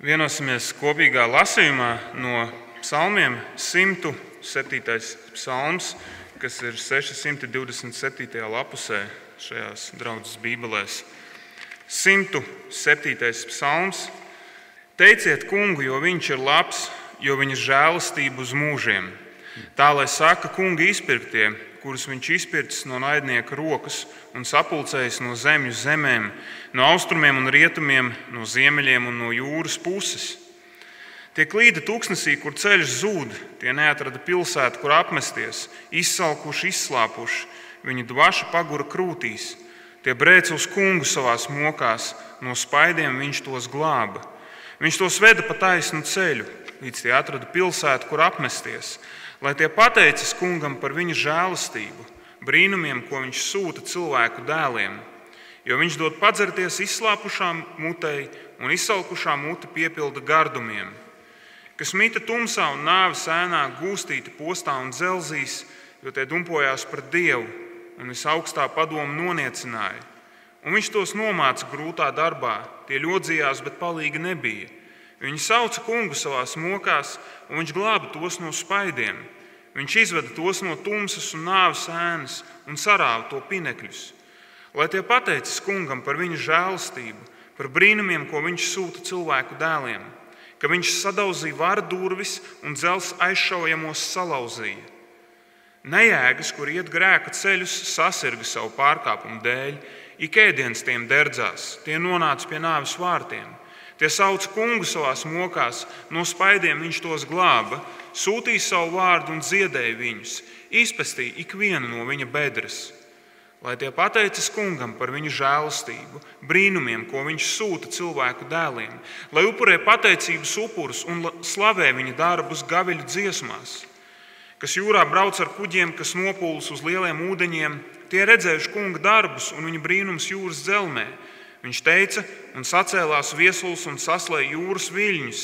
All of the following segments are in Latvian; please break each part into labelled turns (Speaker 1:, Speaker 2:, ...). Speaker 1: Vienosimies kopīgā lasījumā no psalmiem 107. psalms, kas ir 627. lapusē šajās draudzes bībelēs. 107. psalms. Teiciet kungu, jo viņš ir labs, jo viņa žēlastība uz mūžiem. Tā lai saka kungi izpirktie, kurus viņš izpircis no naidnieka rokas un sapulcējis no zemju zemēm, no austrumiem un rietumiem, no ziemeļiem un no jūras puses. Tie klīda tūkstnesī, kur ceļš zūd, tie neatrada pilsētu, kur apmesties, izsalkuši, izslāpuši, viņu dvaša pagura krūtīs. Tie brēc uz kungu savās mokās, no spaidiem viņš tos glāba. Viņš tos veda pa taisnu ceļu, līdz tie atrada pilsētu, kur apmesties lai tie pateicas kungam par viņa žēlastību, brīnumiem, ko viņš sūta cilvēku dēliem. Jo viņš dod padzerties izslāpušām mutei un izsalkušā mute piepilda gardumiem. Kas mīta tumsā un nāves ēnā, gūstīti postā un dzelzīs, jo tie dumpojās pret dievu un visaugstā padomu noniecināja. Un viņš tos nomāca grūtā darbā, tie ļodzījās, bet palīga nebija. Viņi sauca kungu savā mokās, un viņš glāba tos no spaidiem. Viņš izveda tos no tumsas un nāves ēnas un sarāva to pinekļus. Lai tie pateicas kungam par viņa žēlastību, par brīnumiem, ko viņš sūta cilvēku dēliem, ka viņš sadauzīja varu durvis un dzels aizšaujamos salauzīja. Nejēgas, kur iet grēka ceļus, sasirga savu pārkāpumu dēļ, ik ēdienas tiem derdzās, tie nonāca pie nāves vārtiem. Tie sauc kungu savā mokās, no spaidiem viņš tos glāba, sūtīja savu vārdu un dziedēja viņus, izpestīja ikvienu no viņa bedres. Lai tie pateicas kungam par viņu žēlastību, brīnumiem, ko viņš sūta cilvēku dēliem, lai upurē pateicības upurus un slavē viņa darbus gaviļu dziesmās, kas jūrā brauc ar kuģiem, kas nopūlas uz lieliem ūdeņiem, tie redzējuši kunga darbus un viņa brīnums jūras dzelmē. Viņš teica, un sacēlās viesulis un saslēja jūras viļņus.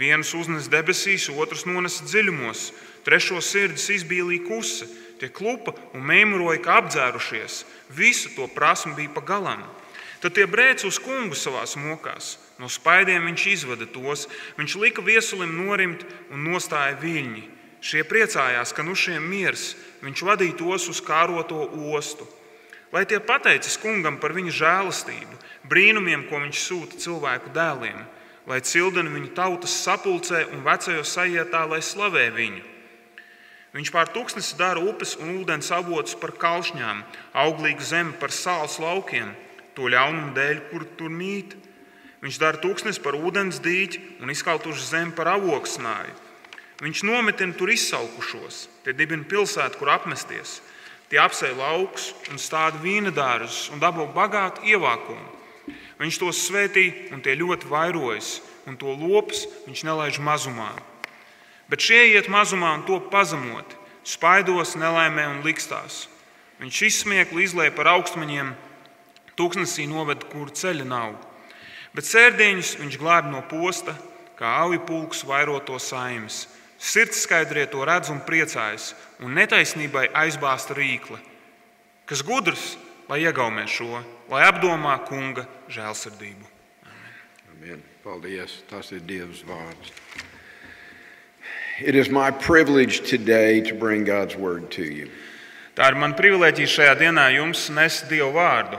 Speaker 1: Vienus uznes debesīs, otrs nonesa dziļumos, trešo sirdis izbīlīja kuse, tie klupa un mēmuroja kā apdzērušies. Visu to prasmu bija pagalām. Tad tie brēca uz kungu savā mokās. No spaidiem viņš izvada tos, viņš lika viesulim norimt un nostāja viļņi. Šie priecājās, ka nu šiem miers, viņš vadīja tos uz kāroto ostu lai tie pateicas kungam par viņa žēlastību, brīnumiem, ko viņš sūta cilvēku dēliem, lai cildeni viņu tautas sapulcē un vecajo sajietā, lai slavē viņu. Viņš pār tūkstnesi dara upes un ūdens avotus par kalšņām, auglīgu zemi par sāls laukiem, to ļaunumu dēļ, kur tur mīt. Viņš dara tūkstnesi par ūdens dīķi un izkautušu zemi par avoksnāju. Viņš nometina tur izsaukušos, tie dibina pilsētu, kur apmesties. Tie apsēja laukus un stāda vīna dārzus un dabū bagātu ievākumu. Viņš tos svētī un tie ļoti vairojas, un to lopus viņš nelaiž mazumā. Bet šie iet mazumā un to pazemoti, spaidos, nelaimē un likstās. Viņš izsmiekli izlēja par augstmaņiem, tūkstnesī noved, kur ceļa nav. Bet sērdiņus viņš glābi no posta, kā auju pulks vairoto saimes. Sirds skaidrie to redz un priecājas, un netaisnībai aizbāzta rīkle. Kas gudrs, lai iegaumē šo, lai apdomā kunga žēlsirdību.
Speaker 2: Amen. Paldies. Tas ir Diev's vārds. It is my privilege today to bring God's word to you.
Speaker 1: Tā ir man privilēģija šajā dienā jums nes Dievu vārdu.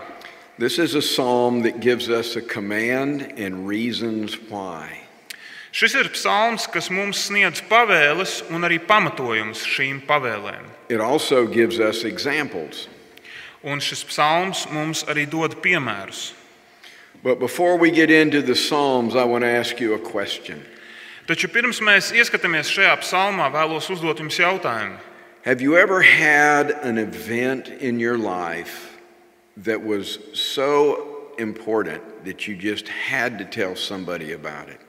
Speaker 2: This is a psalm that gives us a command and reasons why.
Speaker 1: Šis ir psalms, kas mums sniedz pavēles un arī pamatojums šīm pavēlēm.
Speaker 2: It also gives us examples.
Speaker 1: Un šis psalms mums arī dod piemērus.
Speaker 2: But before we get into the Psalms, I want to ask you a question.
Speaker 1: Taču pirms mēs ieskatāmies šajā psalmā, vēlos uzdot jums jautājumu.
Speaker 2: Have you ever had an event in your life that was so important that you just had to tell somebody about it?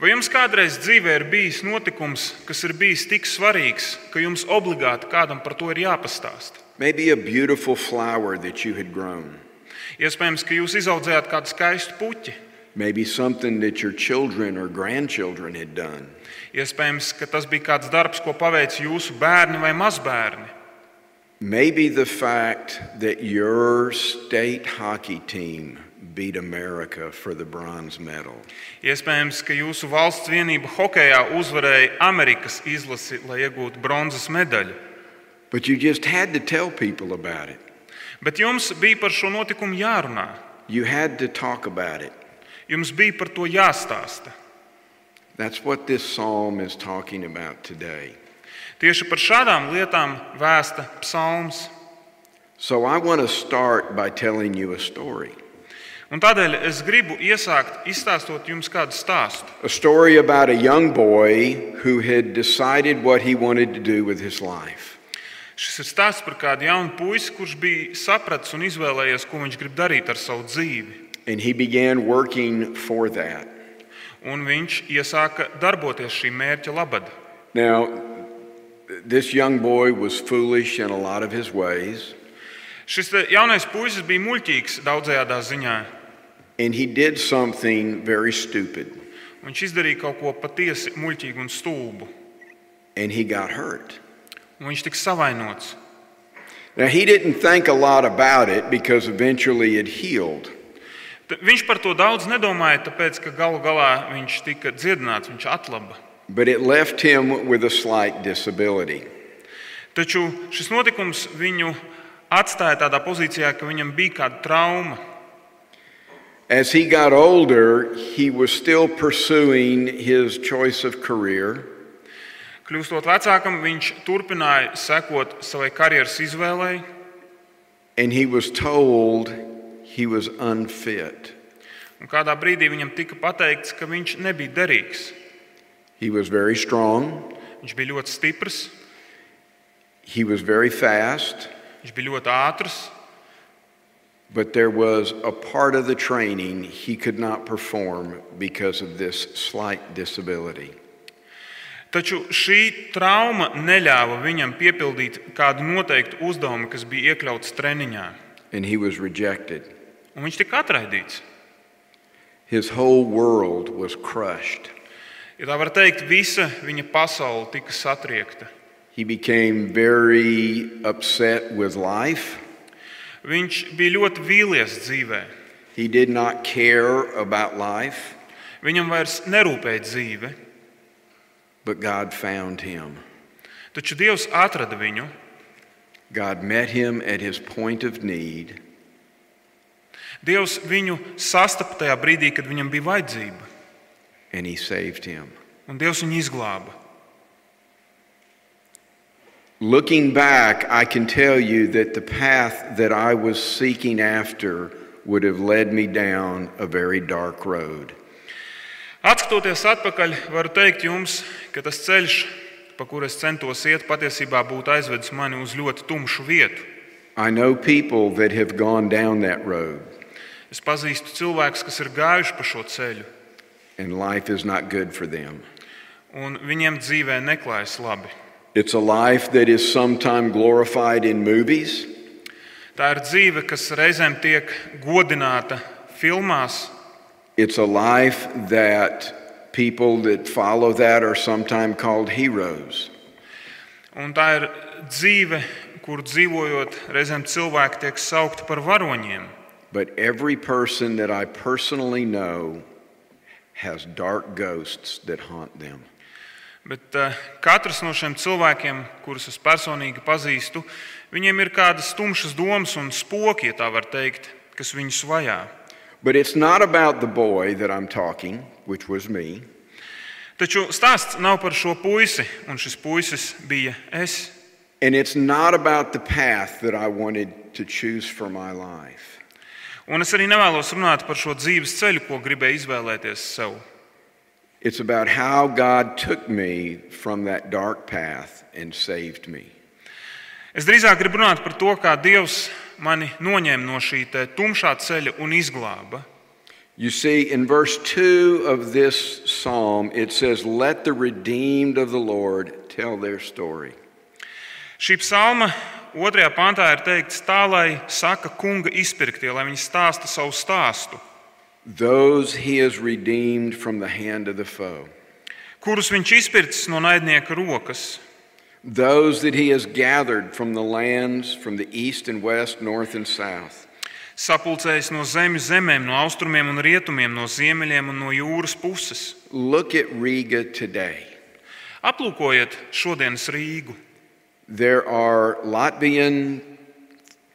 Speaker 1: Vai jums kādreiz dzīvē ir bijis notikums, kas ir bijis tik svarīgs, ka jums obligāti kādam par to ir jāpastāst?
Speaker 2: Maybe a beautiful flower that you had grown,
Speaker 1: Iespējams, ka jūs izaudzējāt kādu skaistu puķi.
Speaker 2: maybe something that your children or grandchildren had done.
Speaker 1: Iespējams, ka tas bija kāds darbs, ko paveica jūsu bērni vai mazbērni.
Speaker 2: Maybe the fact that your state hockey team beat America for the bronze medal.
Speaker 1: Iespējams, ka jūsu valsts vienība hokeja uzvarēja Amerikas izlasi, lai iegūtu bronzas medaļu.
Speaker 2: But you just had to tell people about it.
Speaker 1: Bet jums bija par šo notikumu jārunā.
Speaker 2: You had to talk about it.
Speaker 1: Jums bija par to jāstāsta.
Speaker 2: That's what this psalm is talking about today.
Speaker 1: Tieši par šādām lietām vēsta psalms.
Speaker 2: So I want to start by telling you a story
Speaker 1: Un tādēļ es gribu iesākt izstāstot jums kādu stāstu.
Speaker 2: a story about a young boy who had decided what he wanted to do with his life.
Speaker 1: Šis ir stāsts par kādu jaunu puisi, kurš bija sapratis un izvēlējies, ko viņš grib darīt ar savu dzīvi.
Speaker 2: And he began working for that.
Speaker 1: Un viņš iesāka darboties šī mērķa labad.
Speaker 2: Now, this young boy was foolish in a lot of his ways,
Speaker 1: Šis te jaunais puisis bija muļķīgs daudzajā ziņā.
Speaker 2: and he did something very stupid,
Speaker 1: Viņš izdarīja kaut ko patiesi muļķīgu un stulbu.
Speaker 2: and he got hurt.
Speaker 1: Un viņš tika savainots.
Speaker 2: Now, he didn't think a lot about it because eventually it healed.
Speaker 1: T- Viņš par to daudz nedomāja, tāpēc ka galu galā viņš tika dziedināts, viņš atlaba.
Speaker 2: But it left him with a slight disability.
Speaker 1: Taču šis notikums viņu atstāja tādā pozīcijā, ka viņam bija kāda trauma.
Speaker 2: As he got older, he was still pursuing his choice of career,
Speaker 1: Kļūstot vecākam, viņš turpināja sekot savai karjeras izvēlei,
Speaker 2: and he was told he was unfit.
Speaker 1: un kādā brīdī viņam tika pateikts, ka viņš nebija derīgs.
Speaker 2: He was very strong,
Speaker 1: Viņš bija ļoti stiprs,
Speaker 2: he was very fast,
Speaker 1: viņš bija ļoti ātrs,
Speaker 2: but there was a part of the training he could not perform because of this slight disability.
Speaker 1: taču šī trauma neļāva viņam piepildīt kādu noteiktu uzdevumu, kas bija iekļauts treniņā.
Speaker 2: And he was rejected.
Speaker 1: Un viņš tika atraidīts.
Speaker 2: His whole world was crushed.
Speaker 1: Ja tā var teikt, visa viņa pasaule tika satriekta.
Speaker 2: He became very upset with life.
Speaker 1: Viņš bija ļoti vīlies dzīvē.
Speaker 2: He did not care about life,
Speaker 1: Viņam vairs nerūpēja dzīve,
Speaker 2: but God found him.
Speaker 1: taču Dievs atrada viņu.
Speaker 2: God met him at his point of need,
Speaker 1: Dievs viņu sastapa tajā brīdī, kad viņam bija vajadzība,
Speaker 2: and he saved him.
Speaker 1: un Dievs viņu izglāba.
Speaker 2: Looking back, I can tell you that the path that I was seeking after would have led me down a very dark road.
Speaker 1: Atskatoties atpakaļ, varu teikt jums, ka tas ceļš, pa kuru es centos iet, patiesībā būtu aizvedis mani uz ļoti tumšu vietu.
Speaker 2: I know people that have gone down that road,
Speaker 1: Es pazīstu cilvēkus, kas ir gājuši pa šo ceļu,
Speaker 2: and life is not good for them.
Speaker 1: un viņiem dzīvē neklājas labi.
Speaker 2: It's a life that is sometimes glorified in movies,
Speaker 1: Tā ir dzīve, kas reizēm tiek godināta filmās,
Speaker 2: It's a life that people that follow that are sometimes called heroes.
Speaker 1: un tā ir dzīve, kur dzīvojot, reizēm cilvēki tiek saukti par varoņiem.
Speaker 2: But every person that I personally know has dark ghosts that haunt them.
Speaker 1: Bet eh, katrs no šiem cilvēkiem, kurus es personīgi pazīstu, viņiem ir kādas tumšas domas un spoki, ja tā var teikt, kas viņus vajā.
Speaker 2: But it's not about the boy that I'm talking, which was me.
Speaker 1: Taču stāsts nav par šo puisi, un šis puisis bija es.
Speaker 2: And it's not about the path that I wanted to choose for my life.
Speaker 1: Un es arī nevēlos runāt par šo dzīves ceļu, ko gribēju izvēlēties sev.
Speaker 2: It's about how God took me from that dark path and saved me.
Speaker 1: Es drīzāk gribu runāt par to, kā Dievs mani noņēma no šī te tumšā ceļa un izglāba.
Speaker 2: You see, in verse 2 of this psalm, it says, Let the redeemed of the Lord tell their story.
Speaker 1: Šī psalma otrajā pantā ir teikts tā, lai saka kunga izpirktie, lai viņi stāsta savu stāstu,
Speaker 2: Those he has redeemed from the hand of the foe,
Speaker 1: kurus viņš izpircis no naidnieka rokas,
Speaker 2: those that he has gathered from the lands, from the east and west, north and south.
Speaker 1: sapulcējis no zemes zemēm, no austrumiem un rietumiem, no ziemeļiem un no jūras puses.
Speaker 2: Look at Riga today.
Speaker 1: Aplūkojiet šodienas Rīgu.
Speaker 2: There are Latvian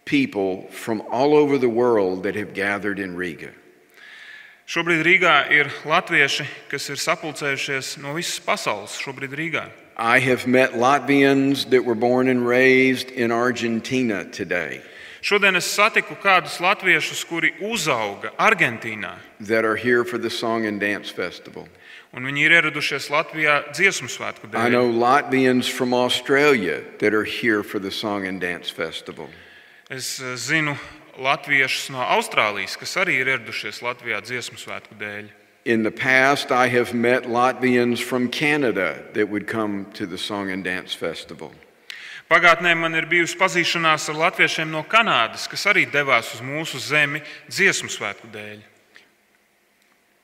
Speaker 2: people from all over the world that have gathered in Riga.
Speaker 1: Šobrīd Rīgā ir latvieši, kas ir sapulcējušies no visas pasaules. Šobrīd Rīgā
Speaker 2: I have met Latvians that were born and raised in Argentina today
Speaker 1: Šodien es satiku kādus latviešus, kuri uzauga Argentīnā,
Speaker 2: that are here for the Song and Dance Festival.
Speaker 1: un viņi ir ieradušies Latvijā dziesmu svētku
Speaker 2: I
Speaker 1: dēļ.
Speaker 2: know Latvians from Australia that are here for the Song and Dance Festival.
Speaker 1: Es eh, zinu latviešus no Austrālijas, kas arī ir ieradušies Latvijā dziesmu svētku dēļ.
Speaker 2: In the past, I have met Latvians from Canada that would come to the Song and Dance Festival.
Speaker 1: Pagātnē man ir bijusi pazīšanās ar latviešiem no Kanādas, kas arī devās uz mūsu zemi dziesmu svētku dēļ.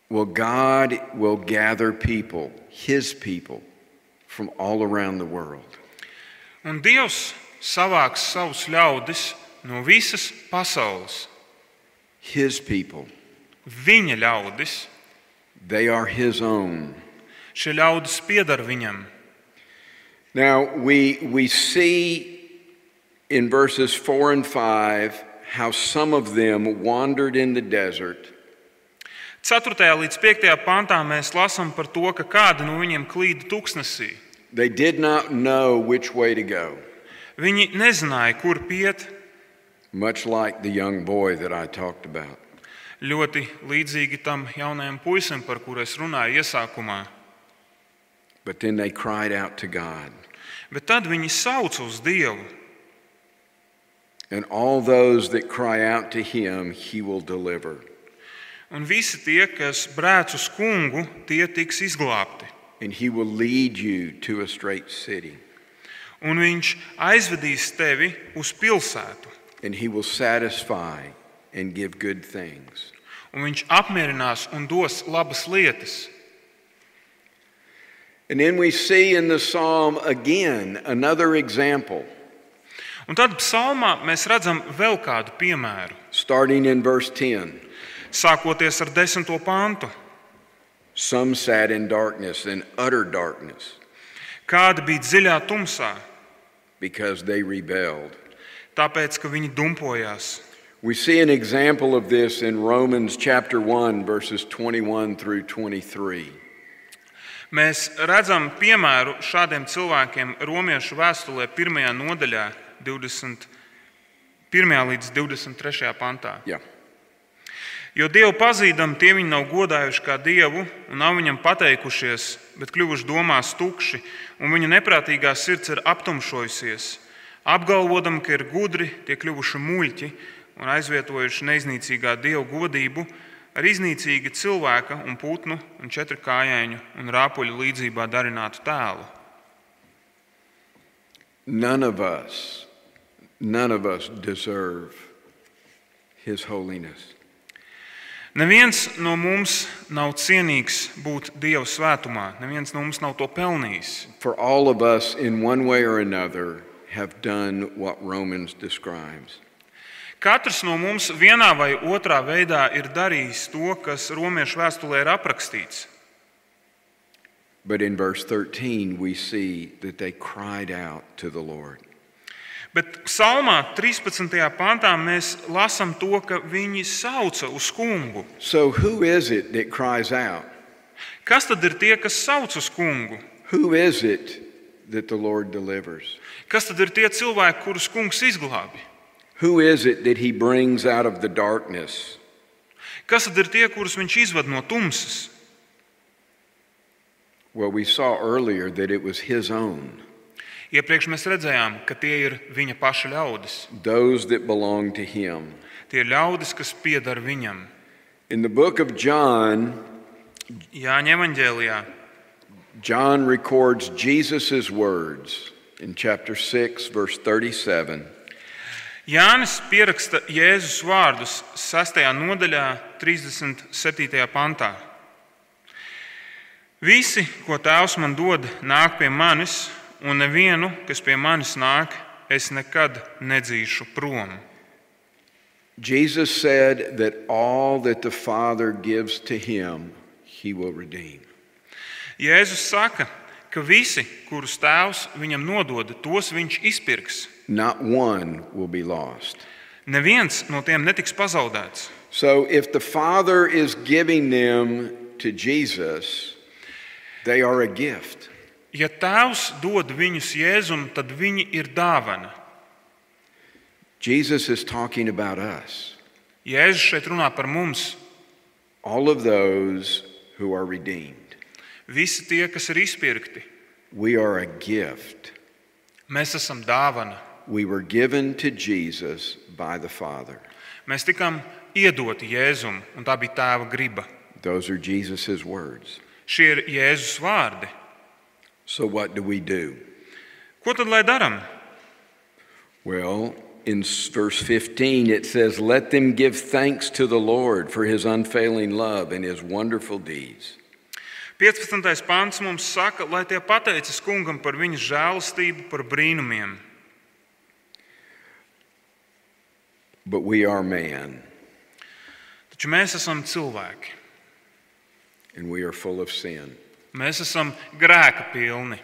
Speaker 2: Well, God will gather people, His people, from all around the world.
Speaker 1: Un Dievs savāks savus ļaudis no visas pasaules.
Speaker 2: His people.
Speaker 1: Viņa ļaudis,
Speaker 2: They are His own.
Speaker 1: šie ļaudis pieder viņam.
Speaker 2: Now, we, we see in verses 4 and 5 how some of them wandered in the desert
Speaker 1: 4. līdz 5. pantā mēs lasām par to, ka kādi no viņiem klīda tuksnesī.
Speaker 2: They did not know which way to go,
Speaker 1: Viņi nezināja, kur iet.
Speaker 2: much like the young boy that I talked about.
Speaker 1: Ļoti līdzīgi tam jaunajam puisim, par kuru es runāju iesākumā.
Speaker 2: But then they cried out to God.
Speaker 1: Bet tad viņi sauca uz Dievu,
Speaker 2: And all those that cry out to him, he will deliver.
Speaker 1: un visi tie, kas brēc uz kungu, tie tiks izglābti.
Speaker 2: And he will lead you to a straight city.
Speaker 1: Un viņš aizvedīs tevi uz pilsētu.
Speaker 2: And he will satisfy and give good things.
Speaker 1: un viņš apmierinās un dos labas lietas.
Speaker 2: And then we see in the psalm again another example,
Speaker 1: Un tad psalmā mēs redzam vēl kādu piemēru,
Speaker 2: starting in verse 10.
Speaker 1: sākoties ar desmito pantu.
Speaker 2: Some sat in darkness, in utter darkness,
Speaker 1: Kāda bija dziļā tumsā,
Speaker 2: because they rebelled.
Speaker 1: tāpēc ka viņi dumpojās.
Speaker 2: We see an example of this in Romans chapter 1, verses 21 through 23.
Speaker 1: Mēs redzam piemēru šādiem cilvēkiem Romiešu vēstulē, 1. nodaļā, 21. līdz 23. pantā.
Speaker 2: Jā.
Speaker 1: Jo Dievu pazīdam, tie viņi nav godājuši kā Dievu un nav viņam pateikušies, bet kļuvuši domās tukši, un viņu neprātīgā sirds ir aptumšojusies. Apgalvodam, ka ir gudri, tie kļuvuši muļķi un aizvietojuši neiznīcīgā Dieva godību ar iznīcīgu cilvēka un putnu un četrkājēju un rāpuļu līdzībā darinātu tēlu.
Speaker 2: None of us, none of us deserve his holiness.
Speaker 1: Neviens no mums nav cienīgs būt Dieva svētumā, neviens no mums nav to pelnījis.
Speaker 2: For all of us, in one way or another, have done what Romans describes.
Speaker 1: Katrs no mums vienā vai otrā veidā ir darījis to, kas romiešu vēstulē ir aprakstīts.
Speaker 2: But in verse 13, we see that they cried out to the Lord.
Speaker 1: Bet psalmā 13. pantā mēs lasām to, ka viņi sauca uz kungu.
Speaker 2: So, who is it that cries out?
Speaker 1: Kas tad ir tie, kas sauc uz kungu?
Speaker 2: Who is it that the Lord delivers?
Speaker 1: Kas tad ir tie cilvēki, kurus kungs izglābi?
Speaker 2: Who is it that he brings out of the darkness?
Speaker 1: Kas tad ir tie, kurus viņš izved no tumsas?
Speaker 2: Well, we saw earlier that it was his own,
Speaker 1: Iepriekš mēs redzējām, ka tie ir viņa paša ļaudis.
Speaker 2: those that belong to him.
Speaker 1: Tie ir ļaudis, kas pieder viņam.
Speaker 2: In the book of John,
Speaker 1: Jāņa evanģēlijā
Speaker 2: John records Jesus' words in chapter 6, verse 37.
Speaker 1: Jānis pieraksta Jēzus vārdus 6. nodaļā, 37. pantā. Visi, ko Tēvs man dod, nāk pie manis, un nevienu, kas pie manis nāk, es nekad nedzīšu prom.
Speaker 2: Jesus said that all that the Father gives to him, he will redeem.
Speaker 1: Jēzus saka, ka visi, kurus tēvs viņam nodod, tos viņš izpirks.
Speaker 2: Not one will be lost.
Speaker 1: Neviens no tiem netiks pazaudēts.
Speaker 2: So if the Father is giving them to Jesus, they are a gift.
Speaker 1: Ja tēvs dod viņus Jēzum, tad viņi ir dāvana.
Speaker 2: Jesus is talking about us,
Speaker 1: Jēzus šeit runā par mums,
Speaker 2: all of those who are redeemed.
Speaker 1: visi tie, kas ir izpirkti.
Speaker 2: We are a gift.
Speaker 1: Mēs esam dāvana.
Speaker 2: We were given to Jesus by the Father.
Speaker 1: Mēs tikām iedoti Jēzum, un tā bija tēva griba.
Speaker 2: Those are Jesus' words.
Speaker 1: Šie ir Jēzus vārdi.
Speaker 2: So, what do we do?
Speaker 1: Ko tad lai darām?
Speaker 2: Well, in s- verse 15, it says, Let them give thanks to the Lord for his unfailing love and his wonderful deeds.
Speaker 1: 15. pāns mums saka, lai tie pateicas kungam par viņa žēlastību, par brīnumiem.
Speaker 2: But we are man,
Speaker 1: Taču mēs esam cilvēki.
Speaker 2: and we are full of sin.
Speaker 1: Mēs esam grēka pilni.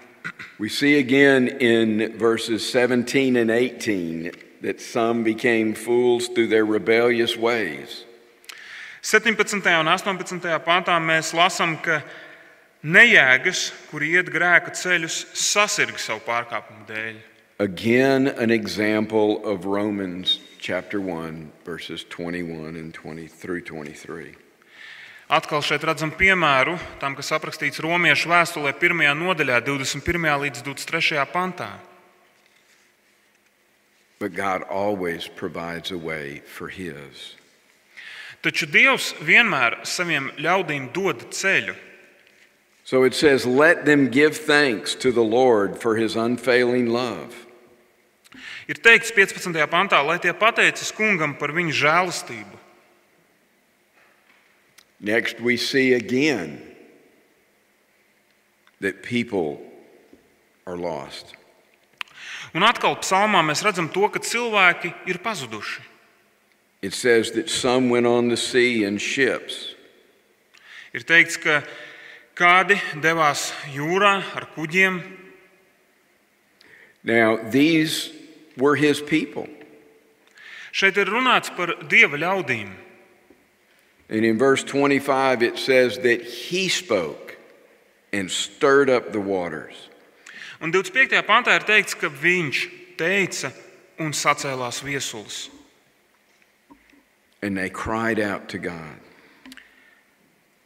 Speaker 2: We see again in verses 17 and 18 that some became fools through their rebellious ways.
Speaker 1: 17. un 18. pāntā mēs lasām, ka nejēgas, kur iet grēka ceļus, sasirga savu pārkāpumu dēļ.
Speaker 2: Again, an example of Romans chapter 1, verses 21 and 20 through 23.
Speaker 1: Atkal šeit redzam piemēru tam, kas aprakstīts Romiešu vēstulē 1. nodaļā, 21. līdz 23. pantā.
Speaker 2: But God always provides a way for His.
Speaker 1: Taču Dievs vienmēr saviem ļaudīm dod ceļu.
Speaker 2: So it says, Let them give thanks to the Lord for His unfailing love.
Speaker 1: Ir teikts 15. pantā, lai tie pateicas kungam par viņa žēlastību.
Speaker 2: Next, we see again that people are lost.
Speaker 1: Un atkal psalmā mēs redzam to, ka cilvēki ir pazuduši.
Speaker 2: It says that some went on the sea in ships,
Speaker 1: Ir teikts, ka kādi devās jūrā ar kuģiem.
Speaker 2: Now, these were his people.
Speaker 1: Šeit ir runāts par dieva ļaudīm.
Speaker 2: And in verse 25, it says that he spoke and stirred up the waters.
Speaker 1: Un 25. pantā ir teikts, ka viņš teica un sacēlās viesulis.
Speaker 2: And they cried out to God.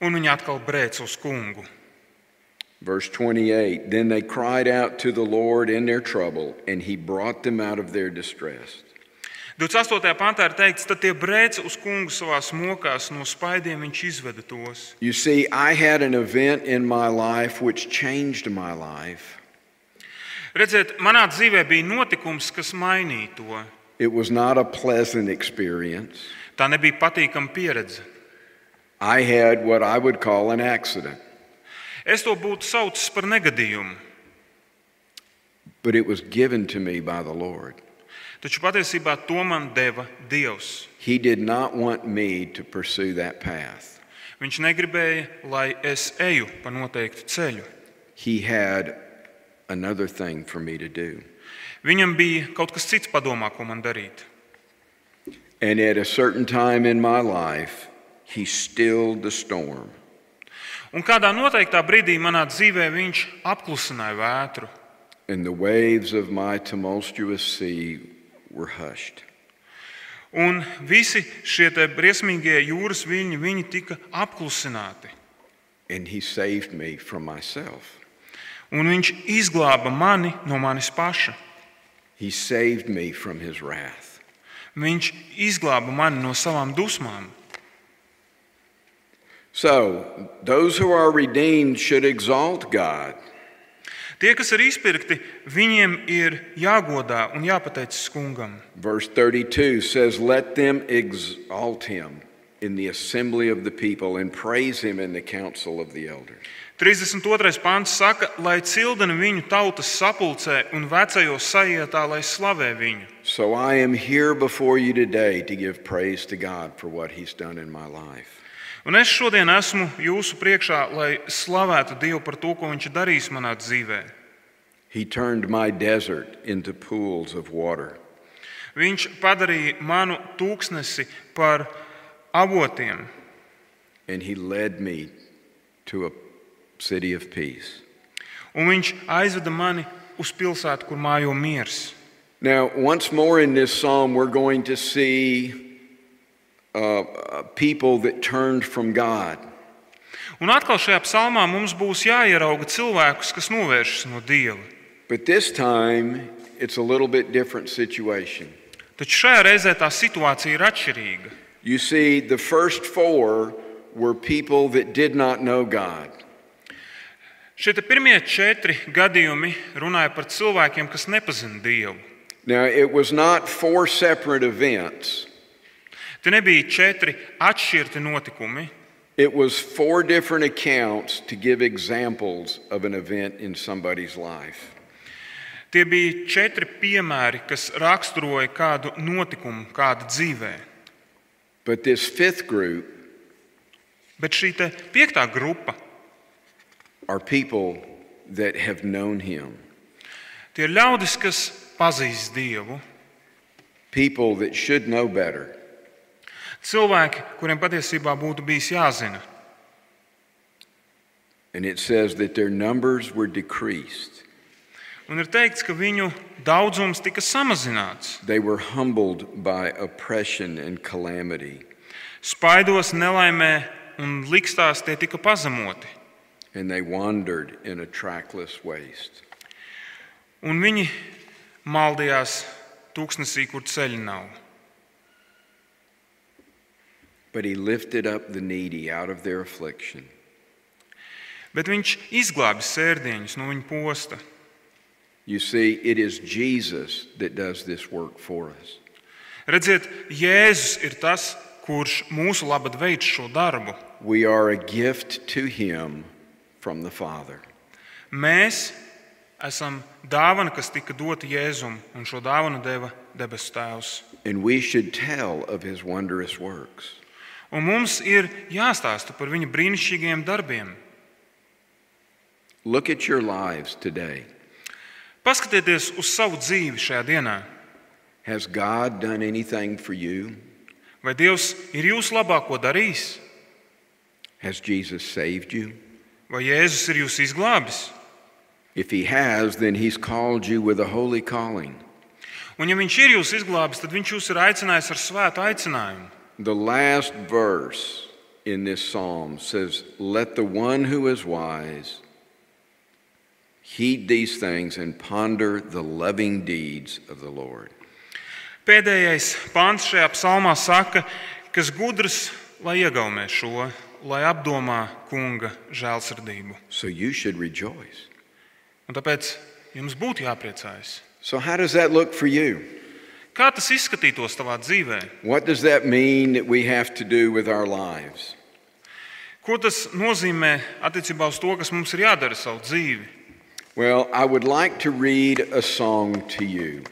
Speaker 1: Un viņi atkal brēc uz kungu.
Speaker 2: Verse 28 Then they cried out to the Lord in their trouble, and he brought them out of their distress.
Speaker 1: 28. pantā ir teikts, tad tie brēc uz kungu savā mokās, no spaidiem viņš izveda tos.
Speaker 2: You see, I had an event in my life which changed my life.
Speaker 1: Redziet, manā dzīvē bija notikums, kas mainīja to.
Speaker 2: It was not a pleasant experience.
Speaker 1: Tā nebija patīkama pieredze.
Speaker 2: I had what I would call an accident,
Speaker 1: Es to būtu saucis par negadījumu,
Speaker 2: but it was given to me by the Lord.
Speaker 1: taču patiesībā to man deva Dievs.
Speaker 2: He did not want me to pursue that path.
Speaker 1: Viņš negribēja, lai es eju pa noteiktu ceļu.
Speaker 2: He had another thing for me to do.
Speaker 1: Viņam bija kaut kas cits padomā, ko man darīt.
Speaker 2: And at a certain time in my life, he stilled the storm.
Speaker 1: Un kādā noteiktā brīdī manā dzīvē viņš apklusināja vētru,
Speaker 2: And the waves of my tumultuous sea were hushed.
Speaker 1: un visi šie te briesmīgie jūras viļņi viņi tika apklusināti.
Speaker 2: And he saved me from myself.
Speaker 1: Un viņš izglāba mani no manis paša.
Speaker 2: He saved me from his wrath.
Speaker 1: Viņš izglāba mani no savām dusmām.
Speaker 2: So, those who are redeemed should exalt God.
Speaker 1: Tie, kas ir izpirkti, viņiem ir jāgodā un jāpateicas kungam.
Speaker 2: Verse 32 says, Let them exalt him in the assembly of the people and praise him in the council of the elders.
Speaker 1: 32. pāns saka, lai cildina viņu tautas sapulcē un vecajos sajietā, lai slavē viņu.
Speaker 2: So I am here before you today to give praise to God for what he's done in my life.
Speaker 1: Un es šodien esmu jūsu priekšā, lai slavētu Dievu par to, ko Viņš ir darījis manā dzīvē.
Speaker 2: He turned my desert into pools of water.
Speaker 1: Viņš padarīja manu tūkstnesi par avotiem,
Speaker 2: and he led me to a city of peace.
Speaker 1: un Viņš aizveda mani uz pilsētu, kur mājo miers.
Speaker 2: Now, once more in this psalm, we're going to see uh, uh, people that turned from God.
Speaker 1: Un atkal šajā psalmā mums būs jāierauga cilvēkus, kas novēršas no Dieva.
Speaker 2: But this time, it's a little bit different situation.
Speaker 1: Taču šajā reizē tā situācija ir atšķirīga.
Speaker 2: You see, the first four were people that did not know God.
Speaker 1: Šie te pirmie četri gadījumi runāja par cilvēkiem, kas nepazina Dievu.
Speaker 2: Now, it was not four separate events,
Speaker 1: Tie nebija četri atšķirti notikumi,
Speaker 2: it was four different accounts to give examples of an event in somebody's life.
Speaker 1: Tie bija četri piemēri, kas raksturoja kādu notikumu, kādu dzīvē.
Speaker 2: But this fifth group
Speaker 1: Bet šī te piektā grupa,
Speaker 2: are people that have known him,
Speaker 1: tie ir ļaudis, kas pazīst Dievu.
Speaker 2: people that should know better.
Speaker 1: Cilvēki, kuriem patiesībā būtu bijis jāzina.
Speaker 2: And it says that their numbers were decreased.
Speaker 1: Un ir teikts, ka viņu daudzums tika samazināts.
Speaker 2: They were humbled by oppression and calamity,
Speaker 1: Spaidos, nelaimē un likstās tie tika pazemoti.
Speaker 2: and they wandered in a trackless waste.
Speaker 1: Un viņi maldījās tūkstnesī, kur ceļi nav.
Speaker 2: But he lifted up the needy out of their affliction
Speaker 1: Bet viņš izglābi sērdiņus no viņa posta.
Speaker 2: You see, it is Jesus that does this work for us.
Speaker 1: Redziet, Jēzus ir tas, kurš mūsu labad veids šo darbu.
Speaker 2: We are a gift to him from the Father.
Speaker 1: Mēs esam dāvana, kas tika dota Jēzum, un šo dāvanu deva debesu Tēvs.
Speaker 2: And we should tell of his wondrous works.
Speaker 1: Un mums ir jāstāsta par viņa brīnišķīgiem darbiem.
Speaker 2: Look at your lives today.
Speaker 1: Paskatieties uz savu dzīvi šajā dienā.
Speaker 2: Has God done anything for you?
Speaker 1: Vai Dievs ir jūsu labāko darījis,
Speaker 2: Has Jesus saved you?
Speaker 1: vai Jēzus ir jūs izglābis?
Speaker 2: If he has, then he's called you with a holy calling.
Speaker 1: Un, ja Viņš ir jūs izglābis, tad Viņš jūs ir aicinājis ar svētu aicinājumu.
Speaker 2: The last verse in this psalm says, Let the one who is wise heed these things and ponder the loving deeds of the Lord.
Speaker 1: Pēdējais pāns šajā psalmā saka, kas gudrs, lai iegaumē šo, lai apdomā kunga žēlsirdību.
Speaker 2: So you should rejoice.
Speaker 1: Un tāpēc jums būtu jāpriecājas.
Speaker 2: So, how does that look for you?
Speaker 1: Kā tas izskatītos tavā dzīvē?
Speaker 2: What does that mean that we have to do with our lives?
Speaker 1: Ko tas nozīmē attiecībā uz to, kas mums ir jādara savu dzīvi?
Speaker 2: Well, I would like to read a song to you.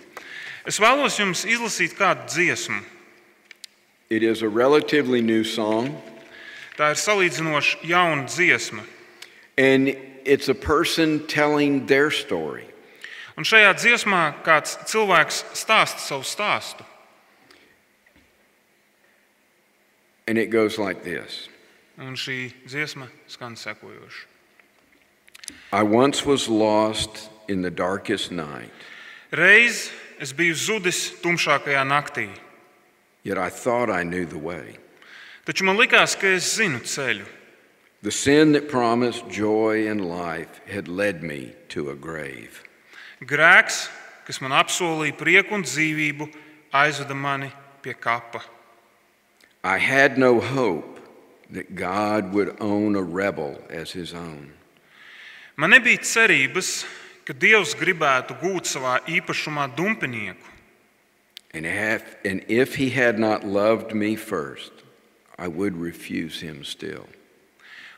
Speaker 1: Es vēlos jums izlasīt kādu dziesmu.
Speaker 2: It is a relatively new song,
Speaker 1: Tā ir salīdzinoši jauna dziesma.
Speaker 2: and it's a person telling their story.
Speaker 1: Un šajā dziesmā kāds cilvēks stāsta savu stāstu.
Speaker 2: And it goes like this
Speaker 1: Un šī dziesma skan sekojoši.
Speaker 2: I once was lost in the darkest night,
Speaker 1: Reiz es biju zudis tumšākajā naktī,
Speaker 2: yet I thought I knew the way.
Speaker 1: taču man likās, ka es zinu ceļu.
Speaker 2: The sin that promised joy and life had led me to a grave.
Speaker 1: Grēks, kas man apsolīja prieku un dzīvību, aizveda mani pie kapa.
Speaker 2: I had no hope that God would own a rebel as his own.
Speaker 1: Man nebija cerības, ka Dievs gribētu gūt savā īpašumā dumpinieku,
Speaker 2: And if, and if he had not loved me first, I would refuse him still.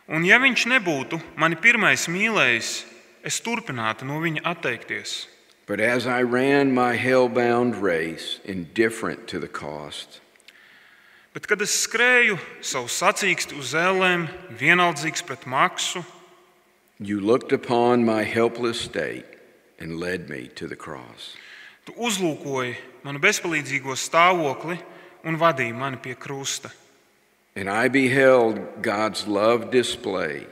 Speaker 1: Un ja viņš nebūtu mani pirmais mīlējis, es turpinātu no viņa atteikties.
Speaker 2: But as I ran my hell-bound race, indifferent to the cost,
Speaker 1: Bet, kad es skrēju savu sacīkstu uz zēlēm, vienaldzīgs pret maksu,
Speaker 2: you looked upon my helpless state and led me to the cross.
Speaker 1: tu uzlūkoji manu bezpalīdzīgo stāvokli un vadīji mani pie krusta.
Speaker 2: And I beheld God's love display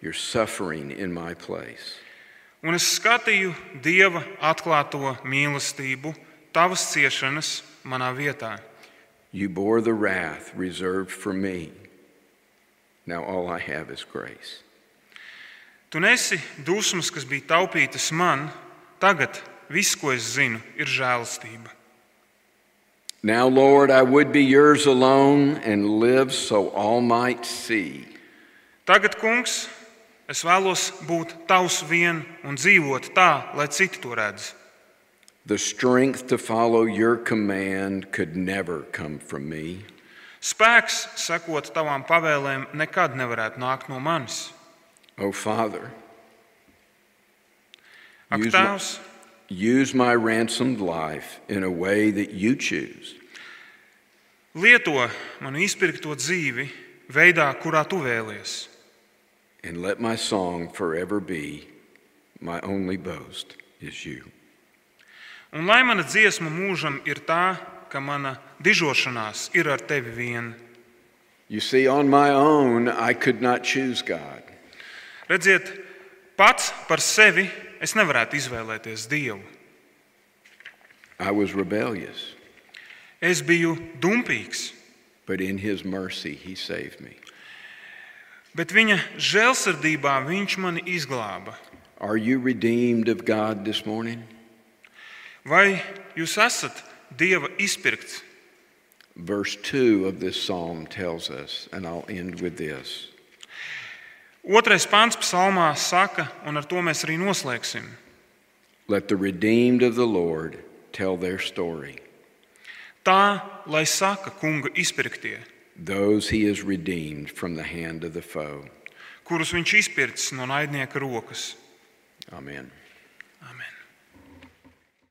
Speaker 2: your suffering in my place.
Speaker 1: Un es skatīju Dieva atklāto mīlestību, tavas ciešanas manā vietā.
Speaker 2: You bore the wrath reserved for me. Now all I have is grace.
Speaker 1: Tu nesi dusmas, kas bija taupītas man, tagad viss, ko es zinu, ir žēlastība.
Speaker 2: Now, Lord, I would be yours alone and live so all might see
Speaker 1: Tagad, kungs, es vēlos būt tavs vien un dzīvot tā, lai citi to redz.
Speaker 2: the strength to follow your command could never come from me.
Speaker 1: Spēks, sekot tavām pavēlēm, nekad nevarētu nākt no manis.
Speaker 2: Oh, Father,
Speaker 1: Ak,
Speaker 2: Jūs man-
Speaker 1: Tēvs,
Speaker 2: use my ransomed life in a way that you choose.
Speaker 1: lieto manu izpirkto dzīvi veidā, kurā tu vēlies.
Speaker 2: And let my song forever be my only boast is you.
Speaker 1: Un lai mana dziesma mūžam ir tā, ka mana dižošanās ir ar tevi vien.
Speaker 2: You see, on my own, I could not choose God.
Speaker 1: Redziet, pats par sevi es nevarētu izvēlēties Dievu.
Speaker 2: I was rebellious,
Speaker 1: Es biju dumpīgs,
Speaker 2: but in His mercy, He saved me.
Speaker 1: bet viņa žēlsirdībā viņš mani izglāba.
Speaker 2: Are you redeemed of God this morning?
Speaker 1: Vai jūs esat Dieva izpirkts?
Speaker 2: Verse 2 of this psalm tells us, and I'll end with this
Speaker 1: Otrais pāns psalmā saka, un ar to mēs arī noslēgsim.
Speaker 2: Let the redeemed of the Lord tell their story,
Speaker 1: Tā, lai saka kunga izpirktie,
Speaker 2: those He has redeemed from the hand of the foe.
Speaker 1: kurus viņš izpircis no naidnieka rokas.
Speaker 2: Amen.
Speaker 1: Amen.